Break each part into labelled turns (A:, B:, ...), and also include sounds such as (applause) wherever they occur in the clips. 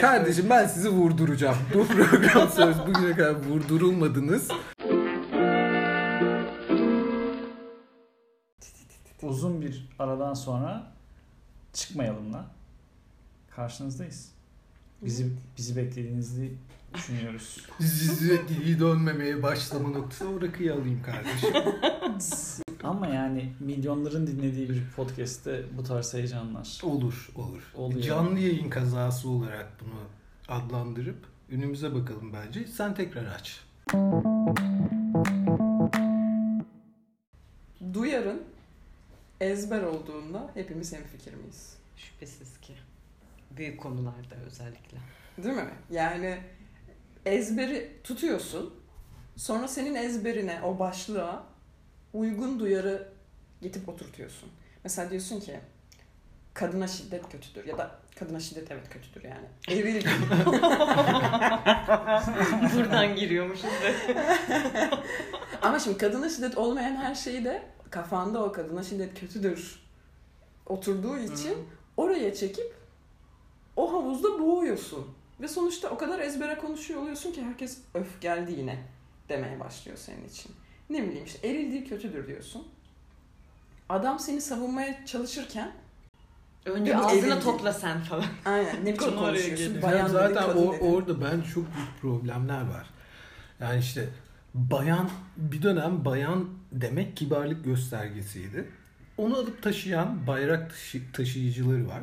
A: Kardeşim ben sizi vurduracağım. Bu program söz bugüne kadar vurdurulmadınız.
B: Uzun bir aradan sonra çıkmayalımla karşınızdayız. Bizi bizi beklediğinizi düşünüyoruz. (laughs)
A: Sürekli dönmemeye başlama noktası o rakıyı alayım kardeşim.
B: Ama yani milyonların dinlediği bir podcast'te bu tarz heyecanlar.
A: Olur olur.
B: Oluyor.
A: Canlı yayın kazası olarak bunu adlandırıp önümüze bakalım bence. Sen tekrar aç.
C: Duyarın ezber olduğunda hepimiz hemfikir miyiz?
D: Şüphesiz ki. Büyük konularda (laughs) özellikle.
C: Değil mi? Yani ezberi tutuyorsun. Sonra senin ezberine, o başlığa uygun duyarı getip oturtuyorsun. Mesela diyorsun ki kadına şiddet kötüdür ya da kadına şiddet evet kötüdür yani. Eril
D: Buradan giriyormuşuz da.
C: Ama şimdi kadına şiddet olmayan her şeyi de kafanda o kadına şiddet kötüdür oturduğu için oraya çekip o havuzda boğuyorsun. Ve sonuçta o kadar ezbere konuşuyor oluyorsun ki herkes öf geldi yine demeye başlıyor senin için. Ne bileyim işte erildiği kötüdür diyorsun. Adam seni savunmaya çalışırken
D: Önce
C: Ya bu
D: ağzını
C: evlilik.
D: topla sen falan.
C: aynen ne biçim
D: Konu oraya
C: konuşuyorsun
D: geliyor.
C: bayan dedin,
A: zaten
C: kadın
A: o,
C: dedin.
A: orada ben çok büyük problemler var. Yani işte bayan bir dönem bayan demek kibarlık göstergesiydi. Onu alıp taşıyan bayrak taşı- taşıyıcıları var.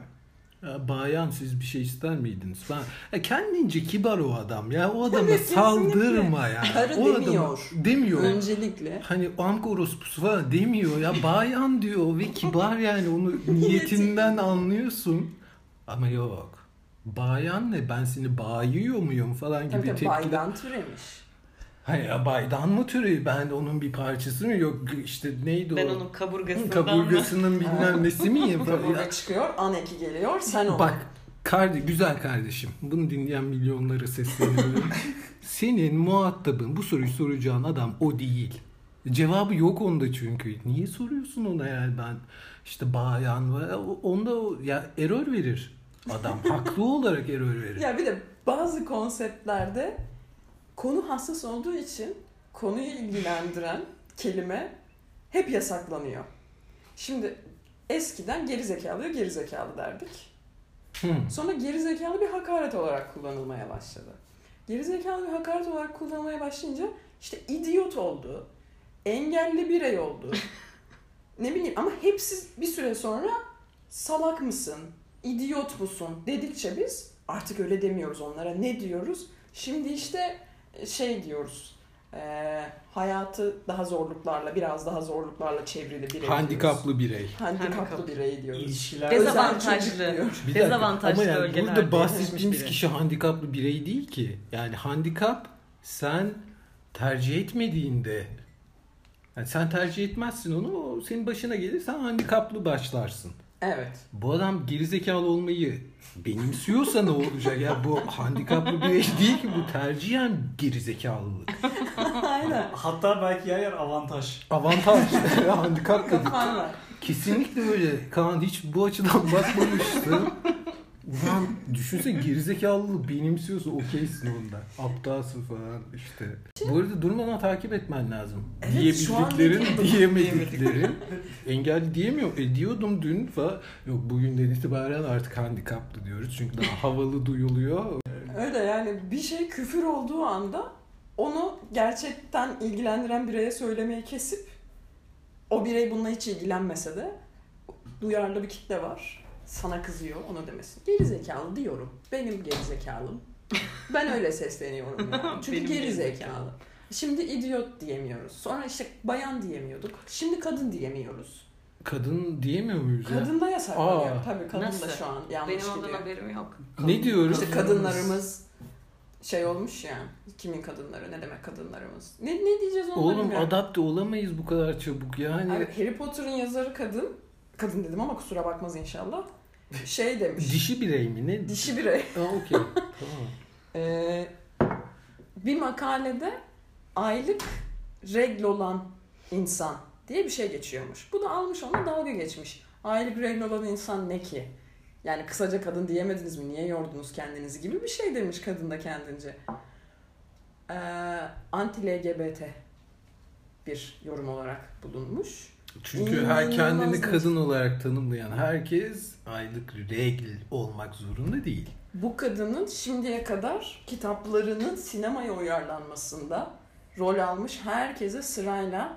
A: Ya bayan siz bir şey ister miydiniz? Ben ya kendince kibar o adam ya. O adama
C: Evet,
A: saldırma ya.
C: Karı
A: o adama-
C: demiyor.
A: demiyor.
C: Öncelikle
A: Hani anka orospusu falan demiyor ya bayan diyor ve kibar yani onu niyetinden anlıyorsun. Ama yok. Bayan ne ben seni bayıyor muyum falan gibi
C: tabii tabii
A: tepkiler.
C: baydan türemiş.
A: Hayır ya baydan mı türü ben onun bir parçası mı yok işte neydi
D: Ben
A: o?
D: onun kaburgasından mı?
A: Kaburgasının bilmem nesi miyim?
C: Oraya çıkıyor an eki
A: (laughs)
C: geliyor sen ol.
A: Bak kardi, güzel kardeşim bunu dinleyen milyonlara sesleniyorum. Senin muhatabın bu soruyu soracağın adam o değil. Cevabı yok onda çünkü. Niye soruyorsun ona yani ben işte bayan var. O- Onda o- ya error verir adam. Haklı olarak error verir.
C: Ya bir de bazı konseptlerde konu hassas olduğu için konuyu ilgilendiren kelime hep yasaklanıyor. Şimdi eskiden gerizekalıya gerizekalı derdik.
A: Hı.
C: Sonra gerizekalı bir hakaret olarak kullanılmaya başladı. Gerizekalı bir hakaret olarak kullanılmaya başlayınca işte idiot oldu, engelli birey oldu. ne bileyim ama hepsi bir süre sonra salak mısın, idiot musun dedikçe biz artık öyle demiyoruz onlara. Ne diyoruz? Şimdi işte şey diyoruz. eee, hayatı daha zorluklarla, biraz daha zorluklarla çevrili birey diyoruz.
A: Handikaplı birey.
C: Handikaplı
D: Handikaplı.
C: birey diyoruz.
B: İlişkiler
D: şey
C: Özel
D: Dezavantajlı.
C: çocuk diyor.
A: Bir dakika,
D: Dezavantajlı
A: Ama yani
D: bölgelerde
A: burada
D: yaşamış
A: bahsettiğimiz
D: biri.
A: kişi handikaplı birey değil ki. Yani handikap sen tercih etmediğinde yani sen tercih etmezsin onu o senin başına gelir sen handikaplı başlarsın.
C: Evet.
A: Bu adam gerizekalı olmayı benimsiyorsa ne olacak ya bu handikaplı birey değil ki bu tercihen gerizekalılık.
C: Aynen.
B: Hatta belki yer yer avantaj.
A: Avantaj (laughs) handikap dedik.
C: Kafan var.
A: Kesinlikle öyle. Kaan hiç bu açıdan (laughs) bakmamıştı. Ulan düşünsene gerizekalılığı benimsiyorsun okeysin onda. Aptalsın falan işte. Bu arada durmadan takip etmen lazım.
C: Evet, şu an
A: Diyebildiklerin,
C: ne
A: diyemediklerin. Engelli diyemiyor. E diyordum dün falan. Yok bugünden itibaren artık handikaplı diyoruz. Çünkü daha havalı duyuluyor.
C: Öyle yani bir şey küfür olduğu anda onu gerçekten ilgilendiren bireye söylemeyi kesip o birey bununla hiç ilgilenmese de duyarlı bir kitle var. Sana kızıyor ona demesin. Gerizekalı diyorum. Benim gerizekalım. Ben öyle sesleniyorum (laughs) yani. Çünkü
D: Benim
C: gerizekalı.
D: gerizekalı.
C: Şimdi idiot diyemiyoruz. Sonra işte bayan diyemiyorduk. Şimdi kadın diyemiyoruz.
A: Kadın diyemiyor muyuz ya?
C: Kadın da yasaklanıyor.
A: Aa.
C: Tabii kadın
D: Nasıl?
C: da şu an yanlış
D: Benim ondan
C: gidiyor.
D: haberim yok.
A: Ne diyoruz?
C: İşte kadınlarımız şey olmuş ya. Kimin kadınları? Ne demek kadınlarımız? Ne ne diyeceğiz onlara
A: Oğlum hani-
C: bilmiyorum.
A: adapte olamayız bu kadar çabuk yani.
C: Abi Harry Potter'ın yazarı kadın. Kadın dedim ama kusura bakmaz inşallah.
A: (laughs)
C: Şey demiş.
A: Dişi birey mi ne?
C: dişi birey.
A: Aa
C: (laughs)
A: okey. Tamam.
C: Ee, bir makalede aylık regl olan insan diye bir şey geçiyormuş. Bu da almış ona dalga geçmiş. Aylık regl olan insan ne ki? Yani kısaca kadın diyemediniz mi? Niye yordunuz kendinizi gibi bir şey demiş kadın da kendince. Ee, Anti-LGBT bir yorum olarak bulunmuş.
A: Çünkü her
C: İnanılmaz
A: kendini
C: demiş.
A: kadın olarak tanımlayan herkes aylık regl olmak zorunda değil.
C: Bu kadının şimdiye kadar kitaplarının sinemaya uyarlanmasında rol almış herkese sırayla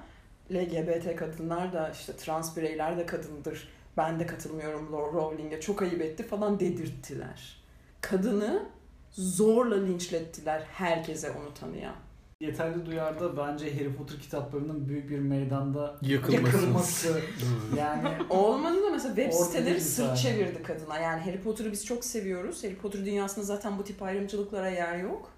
C: LGBT kadınlar da işte trans bireyler de kadındır. Ben de katılmıyorum Lo- Rowling'e çok ayıp etti falan dedirttiler. Kadını zorla linçlettiler herkese onu tanıyan.
B: Yeterli duyarda bence Harry Potter kitaplarının büyük bir meydanda
A: Yakılması.
B: yakılması.
A: Evet.
B: yani
C: Olmadı da mesela web
B: Ortada bir
C: siteleri
B: sahne.
C: sırt çevirdi kadına. Yani Harry Potter'ı biz çok seviyoruz. Harry Potter dünyasında zaten bu tip ayrımcılıklara yer yok.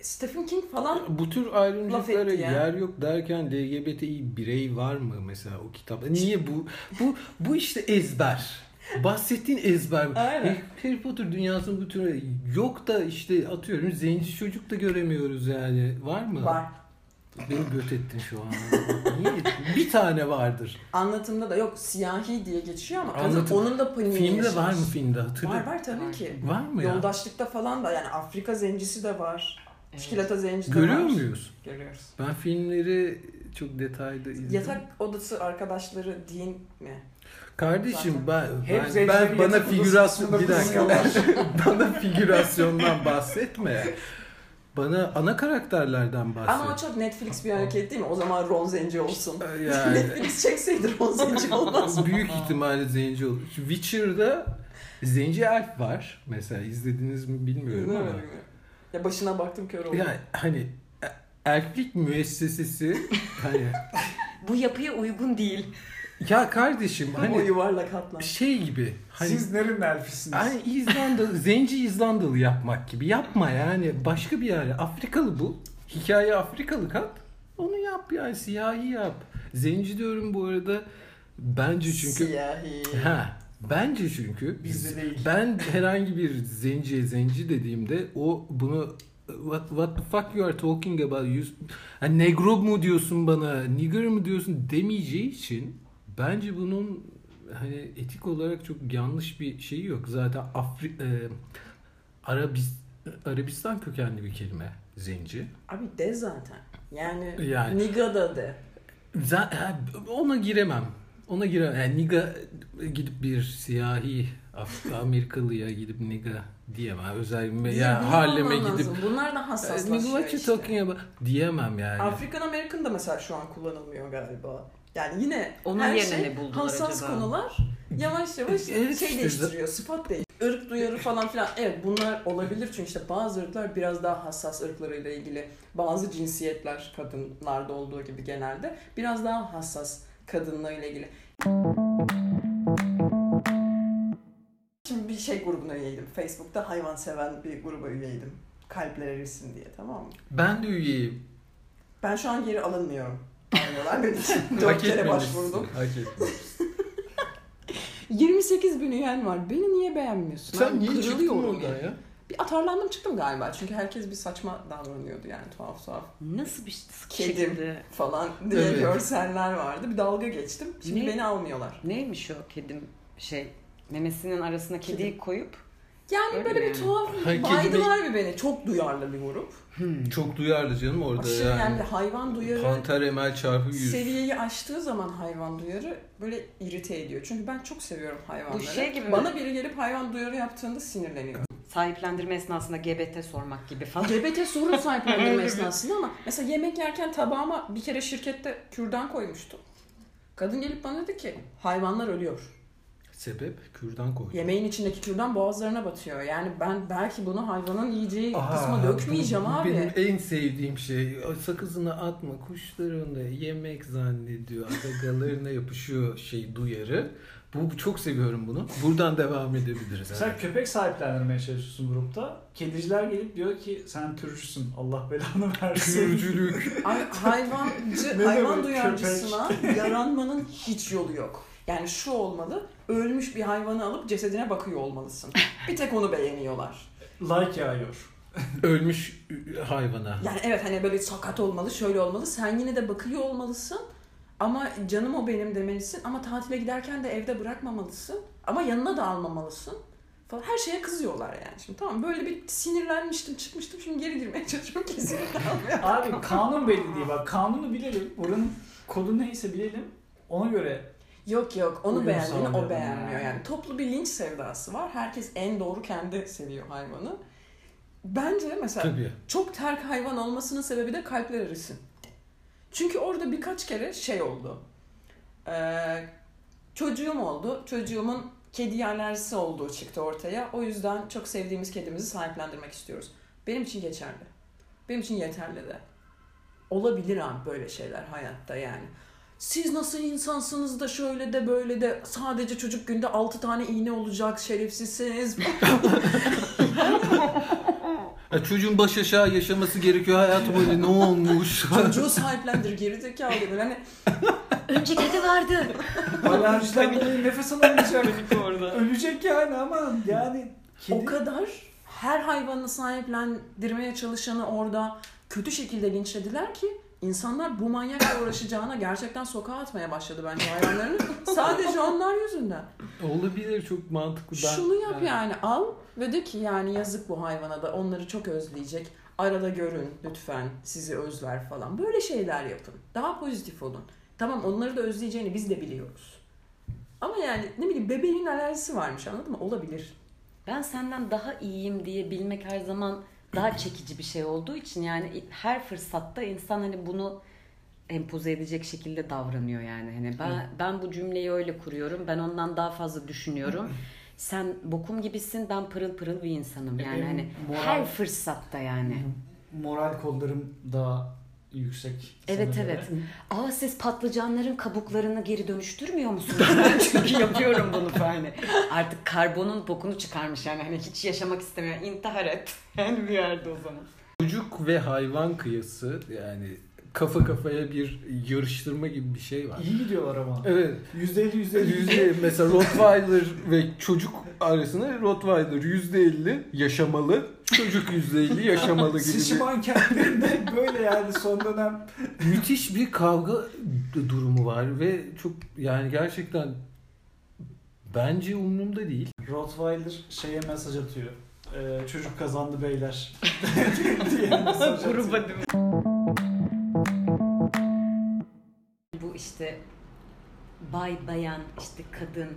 C: Stephen King falan
A: Bu tür ayrımcılıklara
C: Laf etti ya.
A: yer yok derken LGBTİ birey var mı mesela o kitapta? Niye bu? Bu bu işte ezber. Bahsettiğin ezber. Eh,
C: Aynen.
A: Harry Potter dünyasının bu türü yok da işte atıyorum zenci çocuk da göremiyoruz yani. Var mı?
C: var.
A: Beni göt ettin şu an. Niye? Bir tane vardır.
C: Anlatımda da yok siyahi diye geçiyor ama kadın
A: Anlatım-
C: onun da paniği
A: Filmde
C: yaşamış.
A: var mı filmde hatırla.
C: Var var tabii ki.
A: Var mı ya?
C: Yoldaşlıkta falan da yani Afrika zencisi de var.
D: Evet.
C: Çikolata zencisi de
A: Görüyor
C: var.
A: muyuz?
C: Görüyoruz.
A: Ben filmleri çok detaylı izledim.
C: Yatak odası arkadaşları din mi?
A: Kardeşim
C: Zaten.
A: ben,
B: Hep
A: ben,
B: zevkli
A: ben
B: bir
A: bana
B: yatak odası
A: figürasyon
B: kısmında
A: bir dakika. (laughs) bana figürasyondan bahsetme. Bana ana karakterlerden bahset.
C: Ama o çok Netflix bir hareket değil mi? O zaman Ron zenci olsun.
A: (laughs)
C: (laughs)
A: yani
C: Netflix çekseydi Ron zenci olmaz.
A: büyük ihtimalle zenci olur. Şu Witcher'da zenci elf var. Mesela izlediniz mi (laughs) bilmiyorum ama.
C: Bilmiyorum. Ya başına baktım kör oldum.
A: Yani hani e- erkek müessesesi hani
D: Bu yapıya uygun değil.
A: ya kardeşim
C: O
A: hani
C: yuvarlak hatlar.
A: şey gibi hani
B: siz nerenin elfisiniz?
A: Hani İzlanda, (laughs) zenci İzlandalı yapmak gibi. Yapma yani. Başka bir yer. Afrikalı bu. Hikaye Afrikalı kat. Onu yap yani. Siyahi yap. Zenci diyorum bu arada. Bence çünkü...
C: Siyahi.
B: (laughs)
A: Ha. Bence çünkü
B: Bizde değil.
A: ben herhangi bir zenciye zenci dediğimde o bunu what, what the fuck you are talking about you, Ha, negro mu diyorsun bana nigger mı diyorsun demeyeceği için bence bunun hani etik olarak çok yanlış bir şeyi yok. Zaten Afri, e, Arabis- Arabistan kökenli bir kelime zenci.
C: Abi de zaten. Yani,
A: Yani.
C: niga da de.
A: Za- ha, ona giremem. Ona giremem. Yani niga gidip bir siyahi Af- Amerikalıya gidip niga diyemem. Özellikle ya
C: Bunu
A: Harlem'e
C: anlaman
A: gidip E,
C: lazım. Bunlar da
A: "Nigga,
C: hassaslaşıyor
A: what you
C: işte.
A: talking about?" diyemem yani.
C: African American da mesela şu an kullanılmıyor galiba. Yani yine
D: Onun
C: her
D: yerine
C: şey
D: ne buldular
C: hassas
D: acaba?
C: konular yavaş yavaş
A: Evet
C: şey
A: işte.
C: değiştiriyor, sıfat değiştiriyor. Irk duyarı falan filan. Evet bunlar olabilir çünkü işte bazı ırklar biraz daha hassas ırklarıyla ilgili. Bazı cinsiyetler kadınlarda olduğu gibi genelde biraz daha hassas kadınlarıyla ilgili. Şimdi bir şey grubuna üyeydim. Facebook'ta hayvan seven bir gruba üyeydim. Kalpler erisin diye tamam mı?
A: Ben de üyeyim.
C: Ben şu an geri alınmıyorum.
A: (laughs)
C: Almıyorlar benim için. Dört kere
A: etmemişsin,
C: başvurdum.
A: Hak etmemişsin.
C: 28 bin üyen var. Beni niye beğenmiyorsun?
A: Sen
C: Ben
A: niye çıktın
C: kırılıyorum
A: oradan
C: yani.
A: ya?
C: Bir atarlandım çıktım galiba. Çünkü herkes bir saçma davranıyordu yani tuhaf tuhaf
D: Nasıl bir
C: Kedim.
D: şekilde?
C: falan diye
A: Evet.
C: görseller vardı. Bir dalga geçtim. Şimdi
D: Ne?
C: beni almıyorlar.
D: Neymiş o kedim şey? Memesinin arasına kediyi koyup
C: Yani
D: Öyle
C: böyle bir
D: yani.
C: tuhaf
A: Hayır,
C: baydılar bir beni. Çok duyarlı bir grup.
A: Çok duyarlı canım orada
C: Aşırı yani,
A: yani.
C: hayvan duyarı
A: Panter emel çarpı yüz.
C: seviyeyi aştığı zaman hayvan duyarı böyle irite ediyor. Çünkü ben çok seviyorum hayvanları.
D: şey gibi mi?
C: Bana biri gelip hayvan duyarı yaptığında sinirleniyor.
D: sahiplendirme esnasında GBT sormak gibi falan.
C: GBT sorun sahiplendirme esnasında ama mesela yemek yerken tabağıma bir kere şirkette kürdan koymuştum. Kadın gelip bana dedi ki hayvanlar ölüyor.
A: Sebep kürdan koydu.
C: Yemeğin içindeki kürdan boğazlarına batıyor. Yani ben belki bunu hayvanın yiyeceği
A: Aa,
C: kısma dökmeyeceğim
A: bu- bu
C: abi.
A: Benim (laughs) en sevdiğim şey. Sakızını atma kuşlarını yemek zannediyor.
C: (laughs)
A: Gagalarına yapışıyor şey duyarı. Bu bu- çok seviyorum bunu. Buradan devam edebiliriz.
C: (laughs)
B: Sen köpek sahiplendirmeye çalışıyorsun grupta. Kediciler gelip diyor ki sen türcüsün. Allah belanı (laughs) versin.
A: Sürücülük.
C: Ay, hayvancı,
B: Ne
C: hayvan
B: demek
C: duyarcısına yaranmanın hiç yolu yok. Yani şu olmalı, ölmüş bir hayvanı alıp cesedine bakıyor olmalısın. Bir tek onu beğeniyorlar.
B: like yağıyor.
A: Ölmüş hayvana.
C: Yani evet hani böyle sakat olmalı, şöyle olmalı. Sen yine de bakıyor olmalısın. Ama canım o benim demelisin. Ama tatile giderken de evde bırakmamalısın. Ama yanına da almamalısın falan. Her şeye kızıyorlar yani. Şimdi tamam böyle bir sinirlenmiştim çıkmıştım şimdi geri girmeye (laughs) çalışıyorum kesinlikle almıyor.
B: Abi kanun belli değil bak kanunu bilelim. Oranın kodu neyse bilelim.
A: (laughs)
B: Ona göre
C: Yok yok onu
B: Uyum
C: beğendiğini
B: sağlayalım
C: o beğenmiyor
B: yani.
C: yani. Toplu bir linç sevdası var. Herkes en doğru kendi seviyor hayvanı. Bence mesela
A: Tabii.
C: çok terk hayvan olmasının sebebi de kalpler arası. Çünkü orada birkaç kere şey oldu. Ee, çocuğum oldu. Çocuğumun kedi alerjisi olduğu çıktı ortaya. O yüzden çok sevdiğimiz kedimizi sahiplendirmek istiyoruz. Benim için geçerli. Benim için yeterli de. Olabilir abi böyle şeyler hayatta yani. Siz nasıl insansınız da şöyle de böyle de sadece çocuk günde 6 tane iğne olacak şerefsizsiniz.
A: Ya çocuğun baş aşağı yaşaması gerekiyor hayatı böyle ne
C: (laughs)
A: olmuş?
C: Çocuğu sahiplendir gerizekalı gibi. Hani
E: Önce kedi vardı.
A: Hani
B: alerjiden dolayı
A: (laughs)
B: nefes alamayacak.
D: orada.
B: Ölecek yani ama yani
C: O
B: kedi
C: kadar her hayvanı sahiplendirmeye çalışanı orada kötü şekilde linçlediler ki insanlar bu manyakla uğraşacağına gerçekten sokağa atmaya başladı bence hayvanlarını. Sadece onlar yüzünden.
A: Olabilir çok mantıklı. Ben,
C: Şunu yap
A: ben-
C: yani al ve de ki yani yazık bu hayvana da onları çok özleyecek. Arada görün lütfen sizi özler falan. Böyle şeyler yapın. Daha pozitif olun. Tamam onları da özleyeceğini biz de biliyoruz. Ama yani ne bileyim bebeğin alerjisi varmış anladın mı? Olabilir.
E: Ben senden daha iyiyim diye bilmek her zaman daha çekici bir şey olduğu için yani her fırsatta insan hani bunu empoze edecek şekilde davranıyor yani. Hani ben ben bu cümleyi öyle kuruyorum. Ben ondan daha fazla düşünüyorum. Sen bokum gibisin, ben pırıl pırıl bir insanım
B: E,
E: yani
B: benim
E: hani
B: moral-
E: her fırsatta yani.
B: moral kodlarım daha yüksek. sana
E: Evet
B: göre.
E: evet. Aa siz patlıcanların kabuklarını geri dönüştürmüyor musunuz? (laughs) Ben çünkü yapıyorum bunu yani. Artık karbonun bokunu çıkarmış yani hani hiç yaşamak istemiyor. İntihar et. (laughs) Yani bir yerde o zaman.
A: Çocuk ve hayvan kıyası yani kafa kafaya bir yarıştırma gibi bir şey var.
B: İyi gidiyorlar ama.
A: Evet.
B: %50 %50.
A: Yüzde mesela Rottweiler ve çocuk arasında Rottweiler yüzde elli yaşamalı, çocuk yüzde elli yaşamalı gibi
B: Sıçı mankenlerinde böyle yani son dönem.
A: bir müthiş bir kavga durumu var ve çok yani gerçekten bence umurumda değil.
B: Rottweiler şeye mesaj atıyor. Ee, çocuk kazandı (laughs) beyler. diye mesaj atıyor.
D: Gruba değil mi?
E: Bu işte bay bayan işte kadın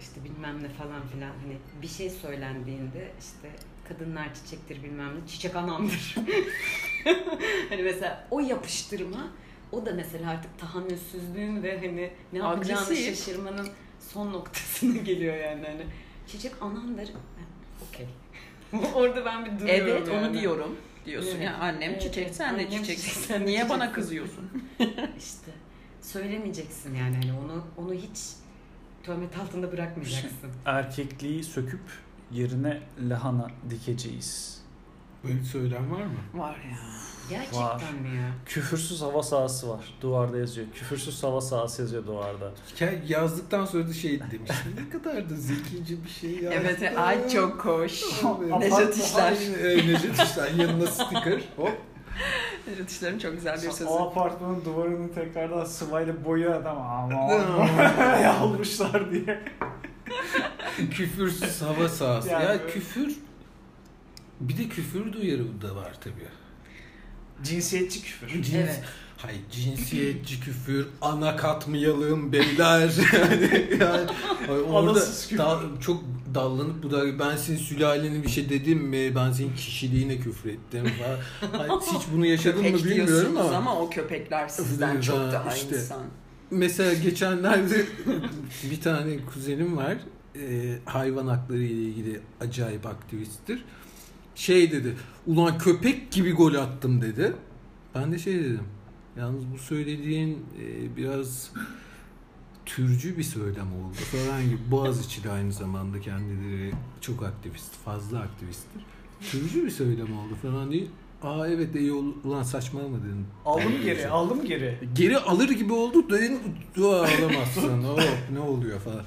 E: işte bilmem ne falan filan hani bir şey söylendiğinde işte kadınlar çiçektir bilmem ne çiçek anamdır. (laughs) hani mesela o yapıştırma o da mesela artık tahammülsüzlüğün ve hani ne yapacağını
C: Agresif.
E: şaşırmanın son noktasına (laughs) geliyor yani hani çiçek anamdır. Ha, Okey. (laughs) Orada ben bir duruyorum.
C: Evet onu
E: yani.
C: diyorum diyorsun
E: Evet.
C: ya annem
E: Evet,
C: çiçek
E: evet.
C: sen de
E: Annem
C: çiçek. (laughs)
E: çiçek, sen de
C: Niye
E: çiçeksin.
C: bana kızıyorsun?
E: İşte söylemeyeceksin yani hani onu onu hiç töhmet altında bırakmayacaksın. (laughs)
B: Erkekliği söküp yerine lahana dikeceğiz.
A: Böyle bir söylem var mı?
C: Var ya.
B: Var.
E: Gerçekten mi ya?
B: Küfürsüz hava sahası var. Duvarda yazıyor. Küfürsüz hava sahası yazıyor duvarda.
A: Hikaye yazdıktan sonra da şey demiştim. Ne kadar da zekice bir şey yazdı.
C: Evet ay çok hoş.
A: Evet.
C: Necdet İşler.
A: Aynen, e, Necdet İşler yanına sticker. Hop.
C: Necdet İşler'in çok güzel bir sözü.
B: O apartmanın duvarını tekrardan sıvayla boya adam ama (laughs) yalmışlar diye.
A: Küfürsüz hava sahası.
B: Yani
A: ya
B: böyle-
A: küfür bir de küfür duyarı da var tabii.
B: Cinsiyetçi küfür.
A: Cins,
E: Evet.
A: Hay cinsiyetçi küfür, ana katmayalım beyler. (laughs) yani, yani ay, orada
B: Anasız küfür.
A: da- çok dallanıp bu da ben senin sülalene bir şey dedim mi? Ben senin kişiliğine küfür ettim falan. Ay, hiç bunu yaşadın mı
C: Köpek
A: bilmiyorum
C: diyorsunuz
A: ama.
C: ama. o köpekler sizden
A: Öyle,
C: çok
A: ha,
C: daha
A: işte.
C: insan.
A: Mesela geçenlerde (laughs) bir tane kuzenim var. Ee, hayvan hakları ile ilgili acayip aktivisttir. Şey dedi. Ulan köpek gibi gol attım dedi. Ben de şey dedim. Yalnız bu söylediğin e, biraz türcü bir söylem oldu falan gibi. Boğaziçi de aynı zamanda kendileri çok aktivist, fazla aktivisttir. Türcü bir söylem oldu falan diye. Aa evet iyi ol- ulan saçmalama dedim.
B: Aldım geri, aldım geri.
A: Geri alır gibi oldu dön dua (laughs) alamazsın. Hop ne oluyor falan.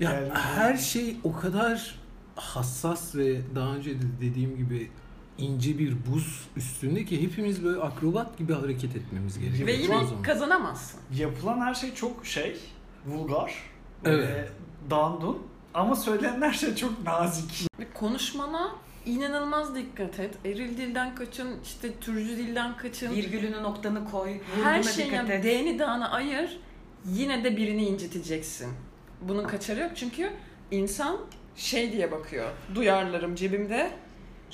A: Ya
B: Yani-
A: her şey o kadar hassas ve daha önce de dediğim gibi ince bir buz üstünde ki hepimiz böyle akrobat gibi hareket etmemiz gerekiyor.
C: Ve
A: o
C: yine
A: zaman.
C: kazanamazsın.
B: Yapılan her şey çok şey, vulgar.
A: Evet.
B: Ee, dandun ama söylenen her şey çok nazik.
C: Ve konuşmana inanılmaz dikkat et. Eril dilden kaçın, işte türcü dilden kaçın.
E: Virgülünü noktanı koy.
C: Her
E: Her
C: şeyine
E: dikkat et.
C: D'ni dağına ayır. Yine de birini inciteceksin. Bunun kaçarı yok çünkü insan şey diye bakıyor. Duyarlarım cebimde.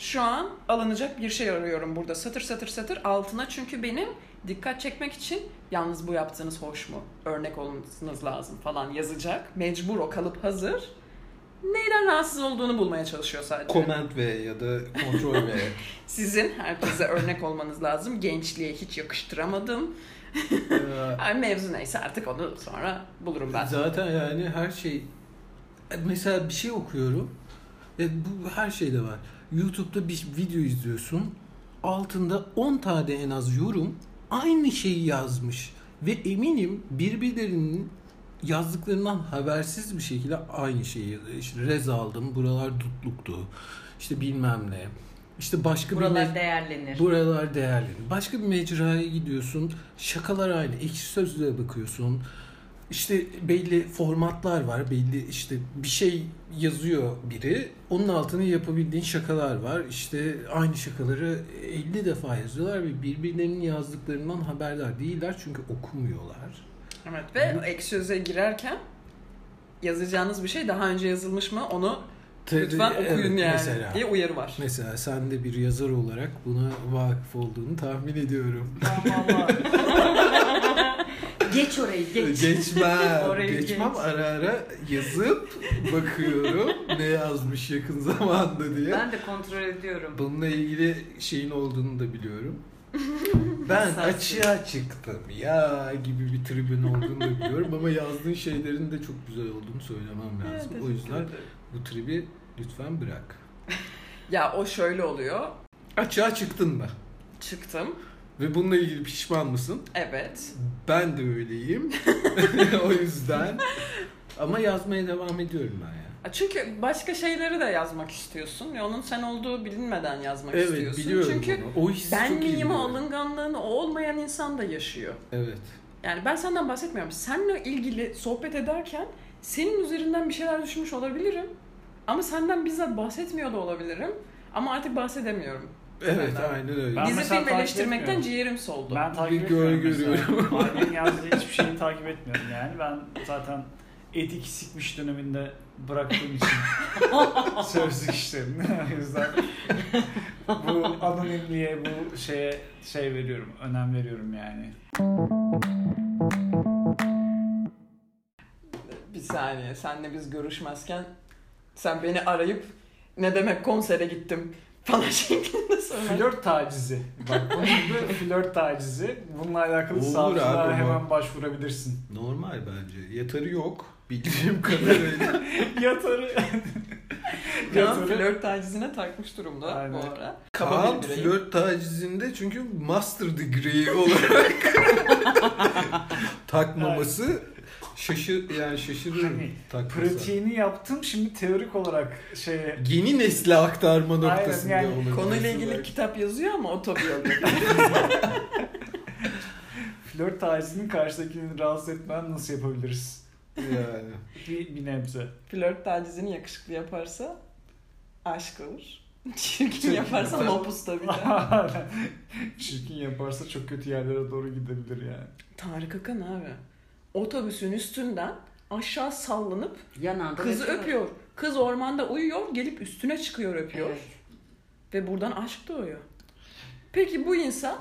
C: Şu an alınacak bir şey arıyorum burada. Satır satır satır altına çünkü benim dikkat çekmek için yalnız bu yaptığınız hoş mu? Örnek olmanız lazım falan yazacak. Mecbur o kalıp hazır. Neyden rahatsız olduğunu bulmaya çalışıyor sadece.
A: Comment V ya da kontrol V.
C: Sizin herkese örnek olmanız lazım. Gençliğe hiç yakıştıramadım.
A: (laughs) Ee,
C: Ay mevzu neyse artık onu sonra bulurum ben.
A: Zaten yani her şey mesela bir şey okuyorum ve bu her şeyde var. YouTube'da bir video izliyorsun. Altında 10 tane en az yorum aynı şeyi yazmış ve eminim birbirlerinin yazdıklarından habersiz bir şekilde aynı şeyi yazıyor. İşte rez aldım, buralar dutluktu. İşte bilmem ne. İşte başka bir
E: Buralar değerlenir.
A: Buralar değerli. Başka bir mecraya gidiyorsun. Şakalar aynı. Ekşi sözlüğe bakıyorsun. İşte belli formatlar var. Belli işte bir şey yazıyor biri. Onun altına yapabildiğin şakalar var. İşte aynı şakaları 50 defa yazıyorlar ve birbirlerinin yazdıklarından haberdar değiller çünkü okumuyorlar.
C: Evet ve ek söze girerken yazacağınız bir şey daha önce yazılmış mı onu lütfen
A: Tabii,
C: okuyun
A: Şey, evet,
C: yani
A: Mesela.
C: diye uyarı var.
A: Mesela sen de bir yazar olarak buna vakıf olduğunu tahmin ediyorum.
E: Geç orayı geç.
A: Geçmem.
E: (laughs) Orayı
A: Geçmem
E: geç.
A: ara ara yazıp bakıyorum ne yazmış yakın zamanda diye.
E: Ben de kontrol ediyorum.
A: Bununla ilgili şeyin olduğunu da
E: (laughs)
A: biliyorum. Ben
E: Hassas.
A: açığa çıktım ya gibi bir tribün olduğunu da biliyorum ama yazdığın şeylerin de çok güzel olduğunu söylemem lazım. o yüzden bu tribi lütfen bırak.
C: Ya o şöyle oluyor.
A: Açığa çıktın mı?
C: Çıktım.
A: Ve bununla ilgili pişman mısın?
C: Evet.
A: Ben de
E: (laughs)
A: öyleyim. (laughs) o yüzden. Ama yazmaya devam ediyorum ben ya.
C: Çünkü başka şeyleri de yazmak istiyorsun. ve Onun sen olduğu bilinmeden yazmak
A: Evet
C: istiyorsun.
A: biliyorum
C: Çünkü
A: bunu. O hissi
C: ben
A: çok iyi
C: miyim o
A: biliyorum.
C: alınganlığını o olmayan insan da yaşıyor.
A: Evet.
C: Yani ben senden bahsetmiyorum. Seninle ilgili sohbet ederken senin üzerinden bir şeyler düşünmüş olabilirim. Ama senden bizzat bahsetmiyor da olabilirim. Ama artık bahsedemiyorum.
A: Evet
C: Ben-
A: aynen öyle.
B: Ben
C: Dizi
B: mesela
C: film
B: takip
C: eleştirmekten
B: etmiyorum.
C: ciğerim soldu.
B: Ben
A: Bir
B: takip
A: göl
B: etmiyorum mesela. (laughs) Ailemin yazdığı hiçbir şeyi takip etmiyorum yani. Ben zaten etik sikmiş döneminde bıraktığım (laughs) için sözlük işlerini. (laughs) o yüzden bu anonimliğe, bu şeye şey veriyorum, önem veriyorum yani.
C: Bir saniye senle biz görüşmezken sen beni arayıp ne demek konsere gittim falan (laughs) şeklinde söyler.
B: Flört tacizi. Bak bunun gibi flört tacizi. Bununla alakalı
A: Olur
B: savcılığa
A: abi bu.
B: hemen başvurabilirsin.
A: Normal bence. Yatarı yok. Bildiğim
C: (laughs)
A: kadarıyla.
B: Yatarı.
A: (laughs)
C: Kaan flört tacizine takmış durumda
B: Aynen.
C: bu ara. Kaba
A: Kaan
C: bir bireyim.
A: flört tacizinde çünkü master degree (laughs) olarak takmaması şaşır yani şaşırırım
B: Hani
A: takmasa.
B: Pratiğini yaptım şimdi teorik olarak şey, şeye
A: Yeni nesle aktarma
B: Aynen,
A: noktasında
B: yani
A: olabilir.
C: Konuyla
A: belki.
C: ilgili kitap yazıyor ama otobiyografi.
B: Flört tacizinin karşıdakini rahatsız etmen nasıl yapabiliriz?
A: Yani.
B: Bir, bir nebze.
A: (laughs)
C: Flört tacizini yakışıklı yaparsa aşk olur. (laughs) Çirkin
B: Çirkin
C: yaparsa
A: yaparsa-
C: mopus
B: (laughs)
C: tabii de.
B: Çirkin yaparsa çok kötü yerlere doğru gidebilir yani.
C: Tarık Akan abi. Otobüsün üstünden aşağı sallanıp
E: Yanan da
C: kızı
E: öpüyor.
C: öpüyor. Kız ormanda uyuyor, gelip üstüne çıkıyor öpüyor.
E: Evet.
C: Ve buradan aşk doğuyor. Peki bu insan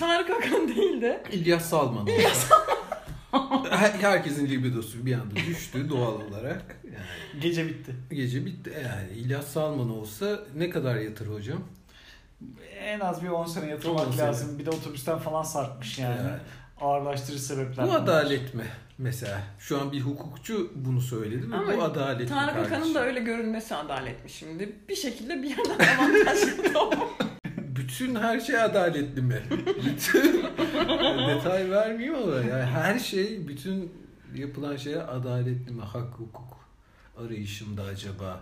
C: Tarık Akan değil de
A: İlyas
C: (laughs)
A: Salman. İlyas Herkesin libidosu bir anda düştü doğal olarak. Yani.
B: Gece bitti.
A: Gece bitti. Yani İlyas Salman olsa ne kadar yatır hocam?
B: En az bir 10 sene yatırmak
A: 10 sene.
B: lazım. Bir de otobüsten falan sarkmış yani.
A: Yani.
B: Ağırlaştırıcı sebepler.
A: Bu adalet mi mesela? Şu an bir hukukçu bunu söyledi mi?
C: Ama
A: Bu adalet mi
C: Tarık Akan'ın
A: kardeşim?
C: da öyle görünmesi adalet mi şimdi? Bir şekilde bir yerden (laughs) avantajlı doğuyor.
A: Bütün her şey adaletli
C: (laughs)
A: mi? bütün detay vermeyeyim ama yani her şey bütün şey yapılan şeye adaletli mi? Hak hukuk arayışında acaba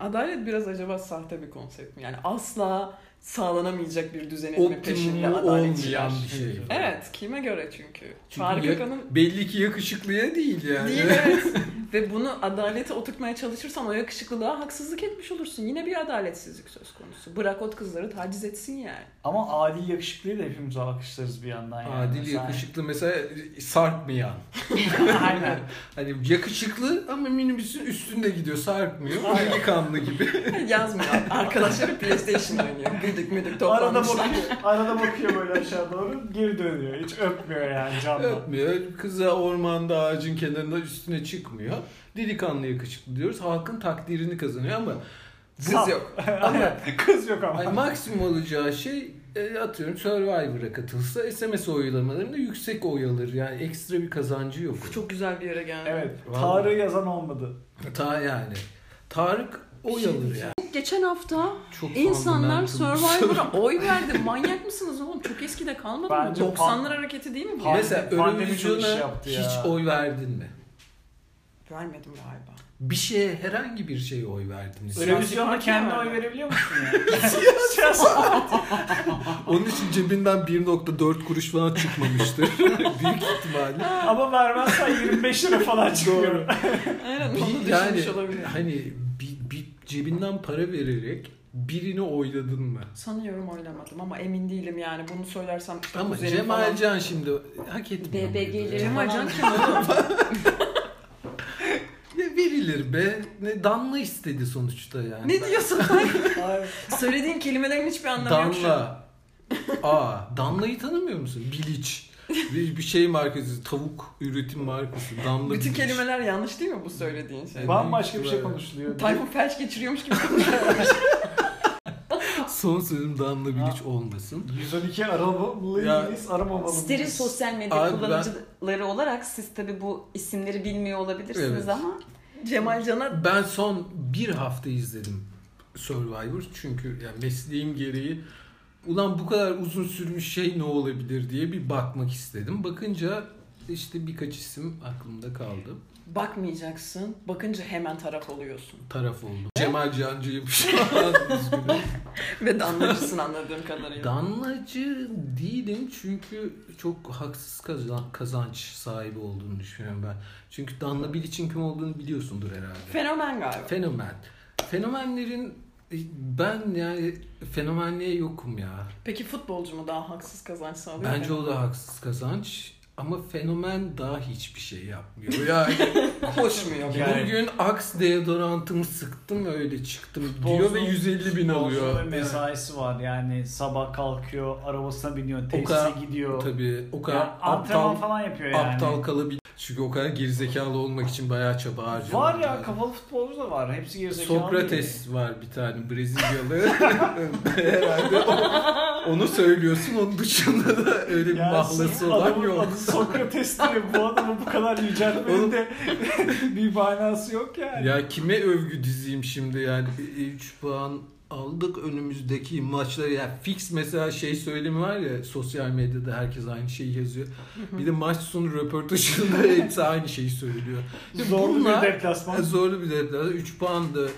C: Adalet biraz acaba sahte bir konsept mi? Yani asla sağlanamayacak bir düzenin peşinde
A: Optimum olmayan
C: adaletçiler.
A: bir şey.
C: Evet, kime göre çünkü?
A: Çünkü
C: Tarık
A: ya-
C: Akan'ın
A: belli ki yakışıklıya değil yani.
C: değil evet. Ve bunu adalete oturtmaya çalışırsan o yakışıklılığa haksızlık etmiş olursun. Yine bir adaletsizlik söz konusu. Bırak ot kızları taciz etsin yani.
B: Ama adil yakışıklıyı da hepimiz alkışlarız bir yandan yani.
A: Adil
B: Mesela-
A: yakışıklı mesela sarkmayan.
B: (laughs) Aynen.
A: Hani yakışıklı ama minibüsün üstünde gidiyor sarkmıyor. Delikanlı gibi.
C: Yazmıyor. Arkadaşları PlayStation oynuyor. Güdük müdük
B: Arada
C: toplanmışlar.
B: bakıyor, arada bakıyor böyle aşağı doğru geri dönüyor. Hiç öpmüyor yani canlı.
A: Öpmüyor. Kıza ormanda ağacın kenarında üstüne çıkmıyor. Delikanlı yakışıklı diyoruz. Halkın takdirini kazanıyor ama
B: Saf.
A: kız
B: (laughs)
A: yok. Ama
B: Kız yok ama.
A: hani maksimum olacağı şey e, atıyorum Survivor'a katılsa SMS oylamalarında yüksek oy alır. Yani ekstra bir kazancı yok.
C: Çok güzel bir yere geldi.
B: Evet.
A: Vallahi.
B: Tarık'ı yazan olmadı.
A: Ta yani. Tarık oy alır yani.
C: Geçen hafta
A: Çok
C: İnsanlar
A: fundamental bir
C: Survivor'a oy verdi. Manyak mısınız oğlum? Çok eskide kalmadı
B: Bence
C: mı?
B: pan-
C: 90'lar hareketi değil mi? bu?
B: Pan-
A: Mesela
B: Pandemi çok iş
A: Eurovision'a
B: yaptı ya.
A: hiç oy verdin mi?
C: Vermedim galiba.
A: Bir şeye herhangi bir şeye oy verdiniz.
C: Öyle- şey
B: Eurovision'a
C: Siyasi
B: kendi
C: parti
B: oy
A: (laughs)
C: mi?
B: verebiliyor musun ya? Siyasi.
A: Onun için cebinden 1.4 kuruş falan çıkmamıştır.
C: (laughs)
A: (laughs) Büyük ihtimalle.
B: Ama vermezsen 25 lira falan çıkıyor.
C: Aynen onu
A: Bir-
C: düşünmüş
A: yani
C: olabilir.
A: hani bir, bir cebinden para vererek birini oyladın mı?
C: Sanıyorum oynamadım ama emin değilim yani. Bunu söylersem işte
A: Ama
C: kuzenim
A: Cemalcan
C: falan-
A: şimdi hak etmiyor.
E: BBG'leri
A: muydu?
C: Cemal Can
E: falan.
C: kim oğlum?
A: Ne verilir be? Ne Danla istedi sonuçta yani.
C: (laughs) ne diyorsun (laughs) lan?
B: Hayır.
C: Söylediğin kelimelerin hiçbir anlamı yok şu an.
A: Danla. Aa, Danla'yı tanımıyor musun? Biliç. Bir, bir şey markası, tavuk üretim markası. Danla
C: Bütün
A: Biliç.
C: kelimeler yanlış değil mi bu söylediğin şey?
A: Evet.
B: Bambaşka bir şey konuşuluyor.
C: Tayfun felç geçiriyormuş gibi. (laughs)
A: Son sözüm Danla Biliç olmasın.
B: 112 aramalıyız, aramamalıyız.
E: Steril sosyal medya
A: Abi ben-
E: kullanıcıları olarak siz tabi bu isimleri bilmiyor olabilirsiniz
A: Evet.
E: ama
C: Cemal Can'a
A: Ben son bir hafta izledim Survivor çünkü yani mesleğim gereği ulan bu kadar uzun sürmüş şey ne olabilir diye bir bakmak istedim. Bakınca işte birkaç isim aklımda kaldı.
C: bakmayacaksın. Bakınca hemen taraf oluyorsun.
A: Taraf oldu. Cemal Cancı'yı şu an (laughs) üzgünüm.
C: Ve damlacısın anladığım kadarıyla.
A: Danlacı değilim çünkü çok haksız kazan- kazanç sahibi olduğunu düşünüyorum ben. Çünkü Danla Bilic'in kim olduğunu biliyorsundur herhalde.
C: Fenomen galiba.
A: Fenomen. Fenomenlerin ben yani fenomenliğe yokum ya.
C: Peki futbolcu mu daha haksız kazanç sağlıyor?
A: Bence o da haksız kazanç. Ama fenomen daha hiçbir şey yapmıyor.
B: (laughs)
A: Yani
C: koşmuyor.
B: Yani-
A: bugün aks deodorantımı sıktım öyle çıktım diyor
B: Futbolcu-
A: ve 150 bin alıyor.
B: Futbolcuların mesaisi var yani sabah kalkıyor, arabasına biniyor,
A: O kadar-
B: tesise gidiyor.
A: Tabii o kadar
B: Yani antrenman
A: aptal,
B: falan yapıyor yani.
A: aptal kalabilir. Çünkü o kadar gerizekalı olmak için bayağı çaba harcıyor.
B: Var ya kafalı futbolcu da var. Hepsi gerizekalı.
A: Sokrates var bir tane Brezilyalı. (laughs) Herhalde o- onu söylüyorsun onun dışında da öyle bir
B: Yani
A: mahlası olan
B: şey, adamın
A: yok.
B: adı Sokrates diye bu adamı bu kadar yüceltmenin
A: Oğlum-
B: de (laughs) bir manası yok yani.
A: Ya kime övgü dizeyim şimdi yani 3 puan aldık önümüzdeki maçları ya fix mesela şey söylemi var ya sosyal medyada herkes aynı şeyi yazıyor. Bir de maç sonu röportajında (laughs) hepsi aynı şeyi söylüyor. Ya
B: Zorlu
A: bunlar-
B: bir deplasman.
A: Ya Zorlu bir deplasman 3 puandı.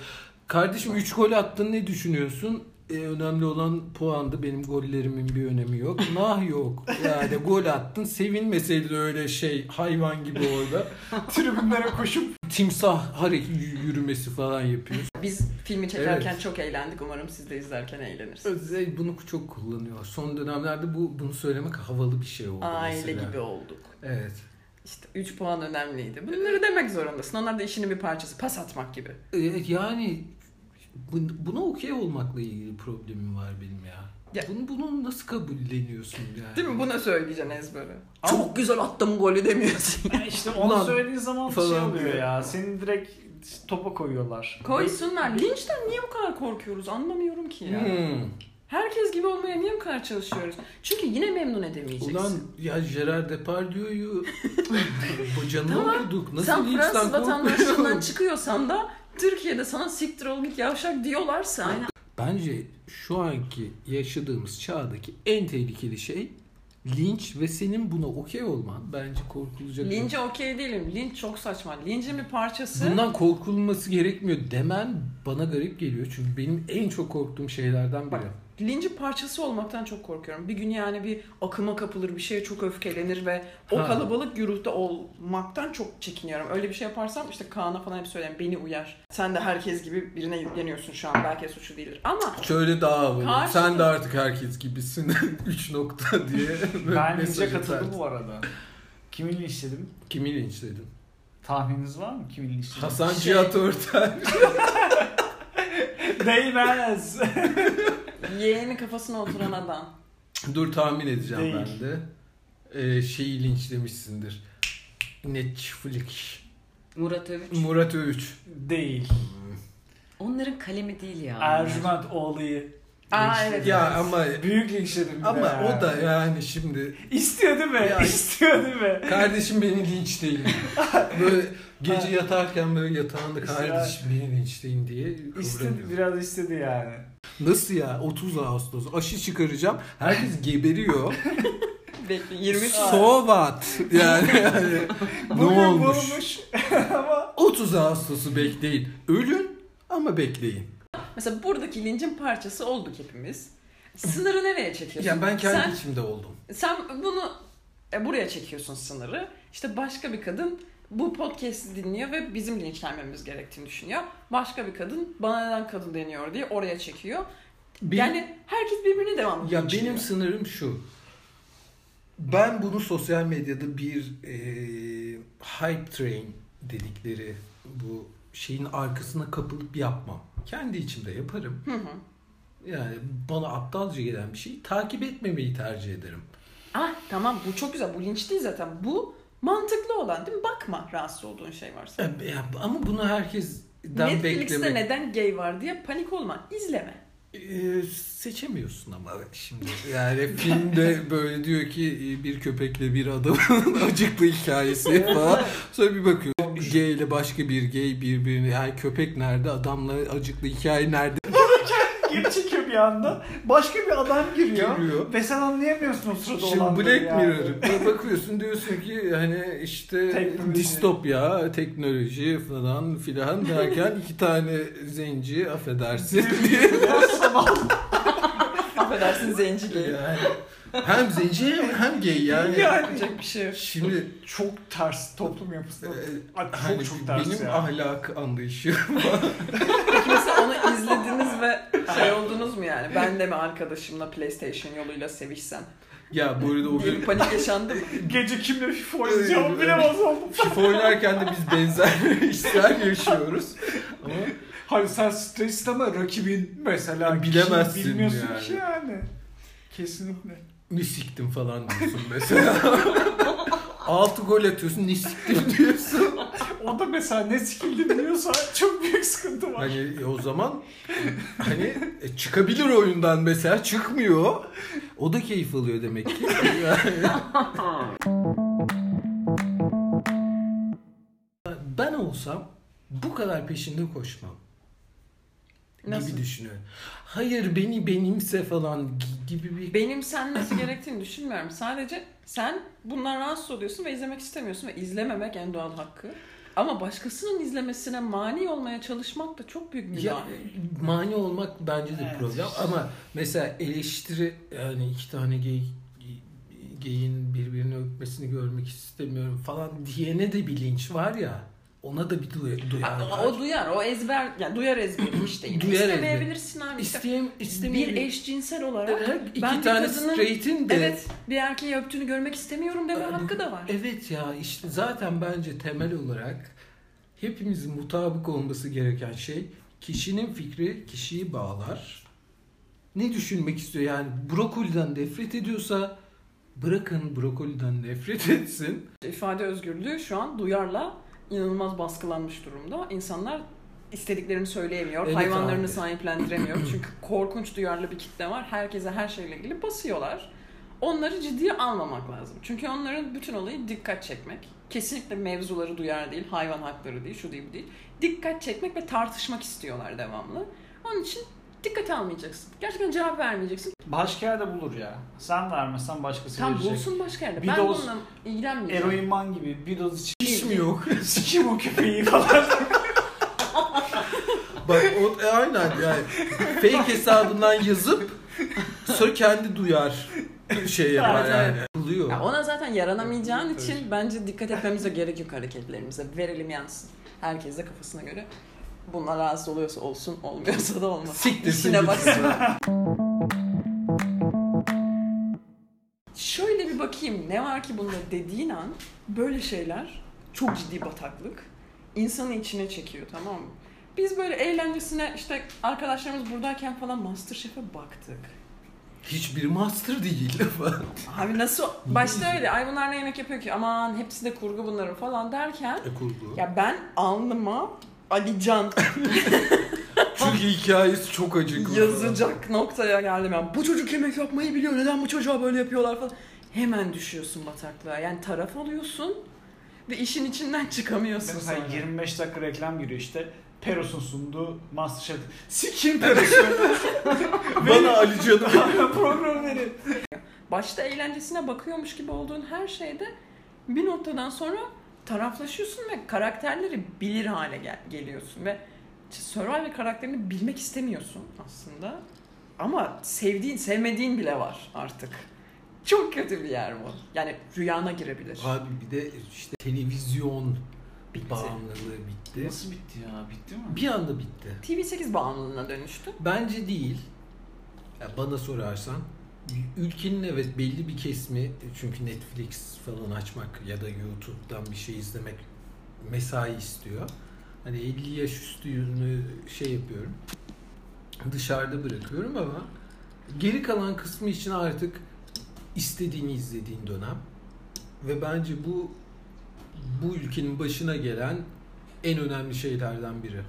A: Kardeşim 3 gol attın ne düşünüyorsun? E, önemli olan puandı. Benim gollerimin bir önemi yok. Nah yok. Yani gol attın. Sevinmeseydin öyle şey hayvan gibi orada.
B: Tribünlere
A: (laughs)
B: koşup
A: Timsah hareket yürümesi falan yapıyor.
C: Biz filmi çekerken
A: Evet.
C: çok eğlendik. Umarım siz de izlerken eğlenirsiniz.
A: Özel bunu çok kullanıyor. Son dönemlerde bu bunu söylemek havalı bir şey oldu
C: Aile
A: mesela.
C: gibi olduk.
A: Evet.
C: İşte 3 puan önemliydi. Bunları demek zorundasın. Onlar da işinin bir parçası. Pas atmak gibi.
A: E, yani bun- buna okey olmakla ilgili problemim var benim ya.
C: Ya-
A: Bunu, bunu nasıl kabulleniyorsun yani?
C: Değil mi? Buna söyleyeceksin ezbere. Çok güzel attım
B: (laughs)
C: golü demiyorsun.
B: Yani işte onu
A: Ulan
B: söylediğin zaman şey
A: falan
B: oluyor
A: diyor.
B: ya. Seni direkt topa koyuyorlar.
C: Koysunlar. Linçten niye bu kadar korkuyoruz? Anlamıyorum ki ya.
A: Hmm.
C: Herkes gibi olmaya niye bu kadar çalışıyoruz? Çünkü yine memnun edemeyeceksin.
A: Ulan ya Gerard Depardieu'yu
B: (laughs)
A: hocanı
C: Tamam.
A: okuduk. Nasıl
C: Sen
A: bir insan
C: Fransız vatandaşlığından
A: (laughs) korkuyorum?
C: çıkıyorsan da Türkiye'de sana siktir ol git yavşak diyorlarsa
A: Bence şu anki yaşadığımız çağdaki en tehlikeli şey linç ve senin buna okey olman bence korkulacak.
C: Linç'e okey değilim. Linç çok saçma. Linç'in bir parçası.
A: Bundan korkulması gerekmiyor demen bana garip geliyor. Çünkü benim en çok korktuğum şeylerden biri.
C: Linç'in parçası olmaktan çok korkuyorum. Bir gün yani bir akıma kapılır, bir şeye çok öfkelenir ve o
A: Ha.
C: kalabalık güruhta olmaktan çok çekiniyorum. Öyle bir şey yaparsam işte Kaan'a falan hep söylerim beni uyar. Sen de herkes gibi birine yükleniyorsun şu an. Belki suçu değildir. Ama
A: Şöyle daha havalı.
C: Karşı-
A: Sen de artık herkes gibisin. (laughs) 3 nokta diye. böyle
B: Ben linçe
A: mesaj
B: katıldım
A: atarsın.
B: bu arada. Kimin linçledim?
A: Kimi linçledin?
B: Tahmininiz var mı kimin linçledim?
A: Hasan Cihat Örtel.
B: (laughs) Değmez.
C: yeğeni kafasına oturan adam.
A: (laughs) Dur tahmin edeceğim
B: Değil.
A: ben de. Ee, şeyi linçlemişsindir. Netflix.
E: Murat Övüç.
A: Murat Övüç.
B: Değil.
E: Onların kalemi değil ya.
B: Ercüment Oğlu'yu.
C: Aa
B: Linçledim.
C: evet.
A: Ya ama
B: Büyük linçledim bir de
A: ama
B: ya.
A: o da yani şimdi
B: İstiyor değil mi?
A: Ya-
B: İstiyor değil mi?
A: kardeşim beni linçleyin.
B: (laughs)
A: Böyle gece yatarken böyle yatağında kardeşim beni linçleyin diye
B: İstedi,
A: kıvranıyor.
B: biraz istedi yani.
A: Nasıl ya 30 Ağustos aşı çıkaracağım. Herkes
B: (laughs)
A: geberiyor.
C: Bekle 20
A: so what? Yani,
B: (laughs)
A: yani ne
B: Bugün
A: olmuş?
B: bulmuş (laughs) ama
A: 30 Ağustos'u bekleyin. Ölün ama bekleyin.
C: Mesela buradaki lincin parçası olduk hepimiz. Sınırı nereye çekiyorsun?
A: Ya ben kendi
C: sen,
A: içimde oldum.
C: sen bunu e, buraya çekiyorsun sınırı. İşte başka bir kadın bu podcast'i dinliyor ve bizim linçlenmemiz gerektiğini düşünüyor. Başka bir kadın bana neden kadın deniyor diye oraya çekiyor.
A: Benim-
C: Yani herkes birbirine devamlı
A: Ya
C: linçliyor.
A: benim sınırım şu. Ben bunu sosyal medyada bir eee, hype train dedikleri bu şeyin arkasına kapılıp yapmam. Kendi içimde yaparım.
C: Hı hı.
A: Yani bana aptalca gelen bir şeyi takip etmemeyi tercih ederim.
C: Ah tamam bu çok güzel. Bu linç değil zaten. Bu mantıklı olan değil mi? Bakma rahatsız olduğun şey varsa.
A: Ya- ya Ama bunu herkesten
C: Netflix'te
A: beklemek.
C: neden gay var diye panik olma. İzleme.
A: (laughs) Ee, seçemiyorsun ama şimdi. Yani filmde böyle diyor ki e, bir köpekle bir adamın (laughs) acıklı hikayesi falan. Sonra bir bakıyorsun gay ile başka bir gay birbirini yani köpek nerede adamla acıklı hikaye nerede
B: geri çekiyor bir anda. Başka bir adam giriyor.
A: Giriyor.
B: Ve sen anlayamıyorsun o sırada
A: Şimdi
B: olanları
A: Black
B: yani.
A: Mirror. Böyle bakıyorsun diyorsun ki hani işte
B: Teknoloji.
A: distopya, teknoloji falan filan derken iki tane zenci affedersin diye.
C: Affedersin zenci gay.
A: Yani hem zenci hem, hem gay yani.
C: Yapacak bir şey yok.
A: Şimdi
B: Çok ters toplum yapısı.
A: Ee,
B: Ay, çok
A: hani
B: çok ters
A: benim
B: ya.
A: ahlak anlayışım. (laughs)
C: Peki mesela onu izlediniz ve şey oldunuz mu yani? Ben de mi arkadaşımla PlayStation yoluyla sevişsem?
A: ya bu arada o
C: Diye
A: gün
C: bir panik
A: (laughs)
C: yaşandı mı?
B: Gece kimle FIFA oynayacağımı bilemez oldum.
A: FIFA oynarken de biz benzer işler yaşıyoruz. Ama
B: Hani sen stresli ama rakibin mesela
A: Bilemezsin
B: kim bilmiyorsun
A: yani.
B: ki yani. Kesinlikle.
A: ne siktim falan diyorsun mesela. (laughs) 6 gol atıyorsun ne siktim diyorsun.
B: O da mesela ne sikildi biliyorsa çok büyük sıkıntı var.
A: Hani e, o zaman hani e, çıkabilir oyundan mesela çıkmıyor. O da keyif alıyor demek ki. Yani- (laughs) ben olsam bu kadar peşinde koşmam.
C: Nasıl?
A: gibi düşünüyorum. Hayır beni benimse falan gi- gibi bir...
C: Benim senmesi gerektiğini düşünmüyorum. Sadece sen bundan rahatsız oluyorsun ve izlemek istemiyorsun ve izlememek en doğal hakkı. Ama başkasının izlemesine mani olmaya çalışmak da çok büyük
A: Ya,
C: günah.
A: mani olmak bence de
B: Evet.
A: problem ama mesela eleştiri yani iki tane gay geyin birbirini öpmesini görmek istemiyorum falan diyene de bilinç var ya ona da bir duy- duyar
C: Aa,
A: var.
C: O duyar, o ezber, yani
A: (clears throat)
C: duyar ezberi işte.
A: Duyar ezberi.
C: İstemeyebilirsin abi. işte.
A: İsteyem,
C: bir
A: istemeyebilir.
C: eşcinsel olarak
A: Evet, iki
C: ben bir
A: tane
C: kadının-
A: straight'in de
C: evet bir erkeği öptüğünü görmek istemiyorum deme hakkı da var.
A: Evet ya işte zaten bence temel olarak hepimizin mutabık olması gereken şey kişinin fikri kişiyi bağlar. Ne düşünmek istiyor yani brokoliden nefret ediyorsa bırakın brokoliden nefret etsin.
C: İfade özgürlüğü şu an duyarla inanılmaz baskılanmış durumda. İnsanlar istediklerini söyleyemiyor,
A: Evet
C: hayvanlarını
A: abi. (clears throat)
C: sahiplendiremiyor. Çünkü korkunç duyarlı bir kitle var. Herkese her şeyle ilgili basıyorlar. Onları ciddiye almamak lazım. Çünkü onların bütün olayı dikkat çekmek. Kesinlikle mevzuları duyar değil, hayvan hakları değil, şu değil bu değil. Dikkat çekmek ve tartışmak istiyorlar devamlı. Onun için dikkate almayacaksın. Gerçekten cevap vermeyeceksin.
B: Başka yerde bulur ya. Sen vermezsen başkası
C: Tam
B: verecek.
C: bulsun başka yerde.
B: Bir
C: ben
B: doz
C: bununla ilgilenmeyeceğim.
B: Eroinman gibi bir doz içip
A: Hiç mi
C: (laughs)
A: yok?
B: (laughs) sikim o köpeği falan.
A: Bak o, e, aynen yani. Fake hesabından yazıp sonra kendi duyar şey yapar yani. Buluyor.
C: Ya ona zaten yaranamayacağın
B: Evet,
C: için bence dikkat etmemize gerek yok hareketlerimize. Verelim yansın. Herkes de kafasına göre. Bunlar rahatsız oluyorsa olsun, olmuyorsa da olmasın.
A: Siktirsin
C: İşine
A: gitsin.
C: baksın. Şöyle bir bakayım ne var ki bunda dediğin an böyle şeyler çok ciddi bataklık insanı içine çekiyor tamam mı? Biz böyle eğlencesine işte arkadaşlarımız buradayken falan Masterchef'e baktık.
A: Hiçbir master
C: (laughs)
A: değil.
C: Abi nasıl başta öyle ay bunlar ne yemek yapıyor ki aman hepsi de kurgu bunların falan derken
A: e, kurgu.
C: ya ben alnıma Alican
A: Çünkü hikayesi çok acıklı.
C: yazacak noktaya geldim ben. Bu çocuk yemek yapmayı biliyor. Neden bu çocuğa böyle yapıyorlar falan. Hemen düşüyorsun bataklığa. Yani taraf oluyorsun ve işin içinden çıkamıyorsun
B: Mesela
C: sonra.
B: 25 dakika reklam giriyor işte. Peros'un sunduğu Masterchef. Sikim Peros'u.
A: Bana Ali Can'ı
B: Program verin.
C: Başta eğlencesine bakıyormuş gibi olduğun her şeyde bir noktadan sonra taraflaşıyorsun ve karakterleri bilir hale gel- geliyorsun ve Survivor karakterini bilmek istemiyorsun aslında. Ama sevdiğin, sevmediğin bile var artık. Çok kötü bir yer bu. Yani rüyana girebilir.
A: Abi bir de işte televizyon
C: Bitti.
A: bağımlılığı bitti.
B: Nasıl bitti ya? Bitti mi?
A: Bir anda bitti.
C: TV8 bağımlılığına dönüştü.
A: Bence değil. Ya bana sorarsan ülkenin evet belli bir kesimi çünkü Netflix falan açmak ya da YouTube'dan bir şey izlemek mesai istiyor. Hani 50 yaş üstünü şey yapıyorum. Dışarıda bırakıyorum ama geri kalan kısmı için artık istediğini izlediğin dönem ve bence bu bu ülkenin başına gelen en önemli şeylerden biri.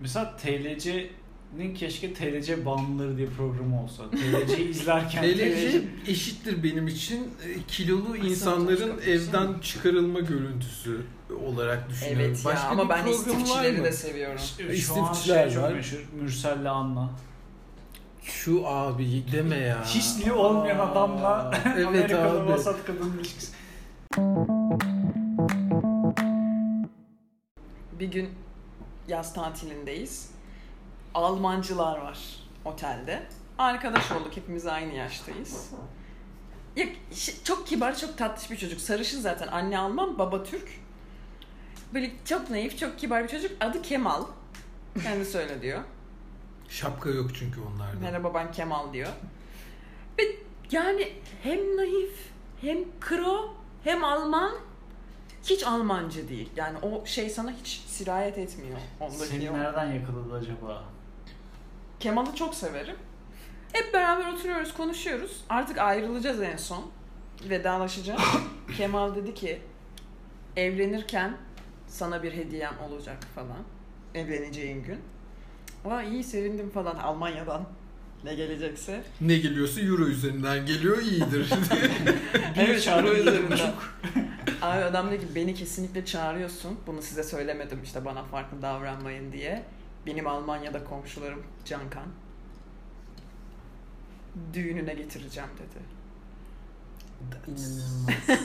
B: Mesela TLC'nin keşke TLC bağımlıları diye programı olsa.
C: (laughs)
B: TLC'yi izlerken
A: TLC eşittir benim için e, kilolu insanların
C: çıkartmış, değil
A: evden çıkarılma görüntüsü olarak düşünüyorum.
C: şey. Evet ya ama ben istifçileri de seviyorum.
B: Şu an
A: İstifçiler
B: şey çok
A: var.
B: meşhur. Mürsel'le Anna.
A: Şu abi deme ya.
B: Hiçliği olmayan (laughs) adamla
A: evet
B: Amerikalı
A: abi.
B: vasat kadın ilişkisi.
C: Bir gün yaz tatilindeyiz. Almancılar var otelde. Arkadaş olduk hepimiz aynı yaştayız. Ya, şi- çok kibar, çok tatlış bir çocuk. Sarışın zaten. Anne Alman, baba Türk. Böyle çok naif, çok kibar bir çocuk. Adı Kemal. Kendi söyle diyor.
A: Şapka yok çünkü onlarda.
C: Merhaba ben Kemal diyor. Ve yani hem naif hem kro hem Alman hiç Almanca değil. Yani o şey sana hiç sirayet etmiyor. Ondaki
B: Seni
C: o-
B: nereden yakaladı acaba?
C: Kemal'i çok severim. Hep beraber oturuyoruz, konuşuyoruz. Artık ayrılacağız en son. Vedalaşacağız. Kemal dedi ki evlenirken sana bir hediyem olacak falan. Evleneceğin gün. Aa iyi sevindim falan Almanya'dan. Ne gelecekse.
A: Ne geliyorsa euro üzerinden geliyor iyidir. (laughs)
C: Evet,
B: çağrı,
C: euro
B: bir
C: üzerinden.
B: buçuk.
C: (laughs) Abi adam dedi ki beni kesinlikle çağırıyorsun. Bunu size söylemedim işte bana farklı davranmayın diye. Benim Almanya'da komşularım Cankan. Düğününe getireceğim dedi.
D: İnanılmaz.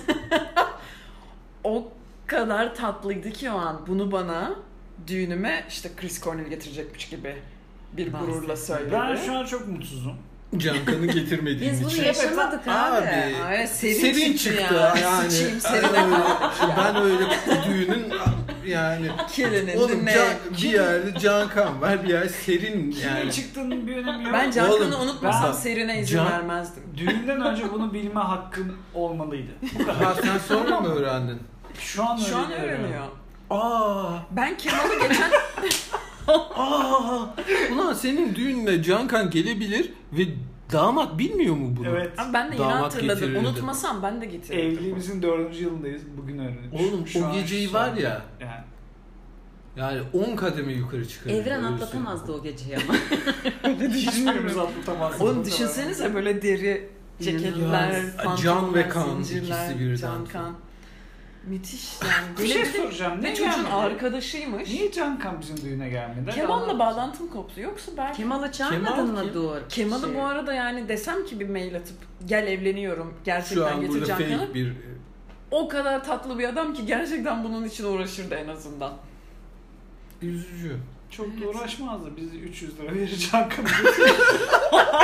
C: O kadar tatlıydı ki o an. Bunu bana düğünüme işte Chris Cornell getirecekmiş gibi bir (laughs) gururla söyledi.
B: Ben şu an çok mutsuzum.
A: Cankan'ı getirmediğim
E: Biz bunu
A: için.
E: yaşamadık abi.
A: Şey, Abi.
C: Ay, serin,
A: Serin
C: çıktı,
A: çıktı
C: ya.
A: yani. (laughs)
C: Sıçayım serine.
A: Ee, ben öyle düğünün yani
C: Kirinin
A: oğlum
C: dinle.
A: can, bir yerde Cankan var bir yer serin yani.
B: Kimin çıktığının bir önemi yok.
C: Ben Cankan'ı
A: Oğlum,
C: unutmasam
B: ben-
C: serine izin
A: Can-
C: vermezdim.
B: Düğünden önce bunu bilme hakkın olmalıydı. Bu kadar.
A: Ha, sen sonra mı öğrendin?
B: Şu an
C: Şu an
B: öğreniyorum.
C: öğreniyor.
A: Aa
C: Ben Kemal'ı geçen
A: Aa, ulan senin düğününe Cankan gelebilir ve damat bilmiyor mu bunu?
B: Evet.
C: Ama ben şey de yine
A: Damat
C: hatırladım.
A: getirirdim.
C: Unutmasam ben de getirirdim.
B: Evliliğimizin dördüncü yılındayız. Bugün öğrendik.
A: Oğlum
B: Şu
A: o
B: an-
A: geceyi
B: şu
A: var
B: an-
A: ya
B: Yani.
A: yani 10 kademe yukarı çıkarır.
E: Evren
A: Öyle
E: atlatamazdı o geceyi ama.
B: Hiçbirimiz atlatamazdık.
C: Oğlum düşünsenize böyle deri ceketler,
A: İnanılmaz.
C: pantolonlar,
A: Can ve kan,
C: zincirler,
A: ikisi birden.
C: can kan. Müthiş yani.
B: Bir şey
C: Gelebilir.
B: soracağım.
C: Ve
B: Ne
C: çocuğun
B: gelmedi?
C: arkadaşıymış.
B: Niye Can Kan bizim düğüne gelmedi?
C: Kemal'la
B: Anlat.
C: bağlantım koptu. Yoksa ben
D: Kemal'ı çağırmadın
A: Kemal
D: mı
A: kim?
D: Dur?
C: Kemal'ı
D: Şey,
C: bu arada yani desem ki bir mail atıp gel evleniyorum
A: Şu
C: gerçekten
A: an burada
C: getireceğim
A: fake
C: kanı.
A: bir e,
C: O kadar tatlı bir adam ki gerçekten bunun için uğraşırdı en azından.
A: üzücü.
B: Çok da uğraşmazdı. Biz 300 lira verir Can Kan'ı.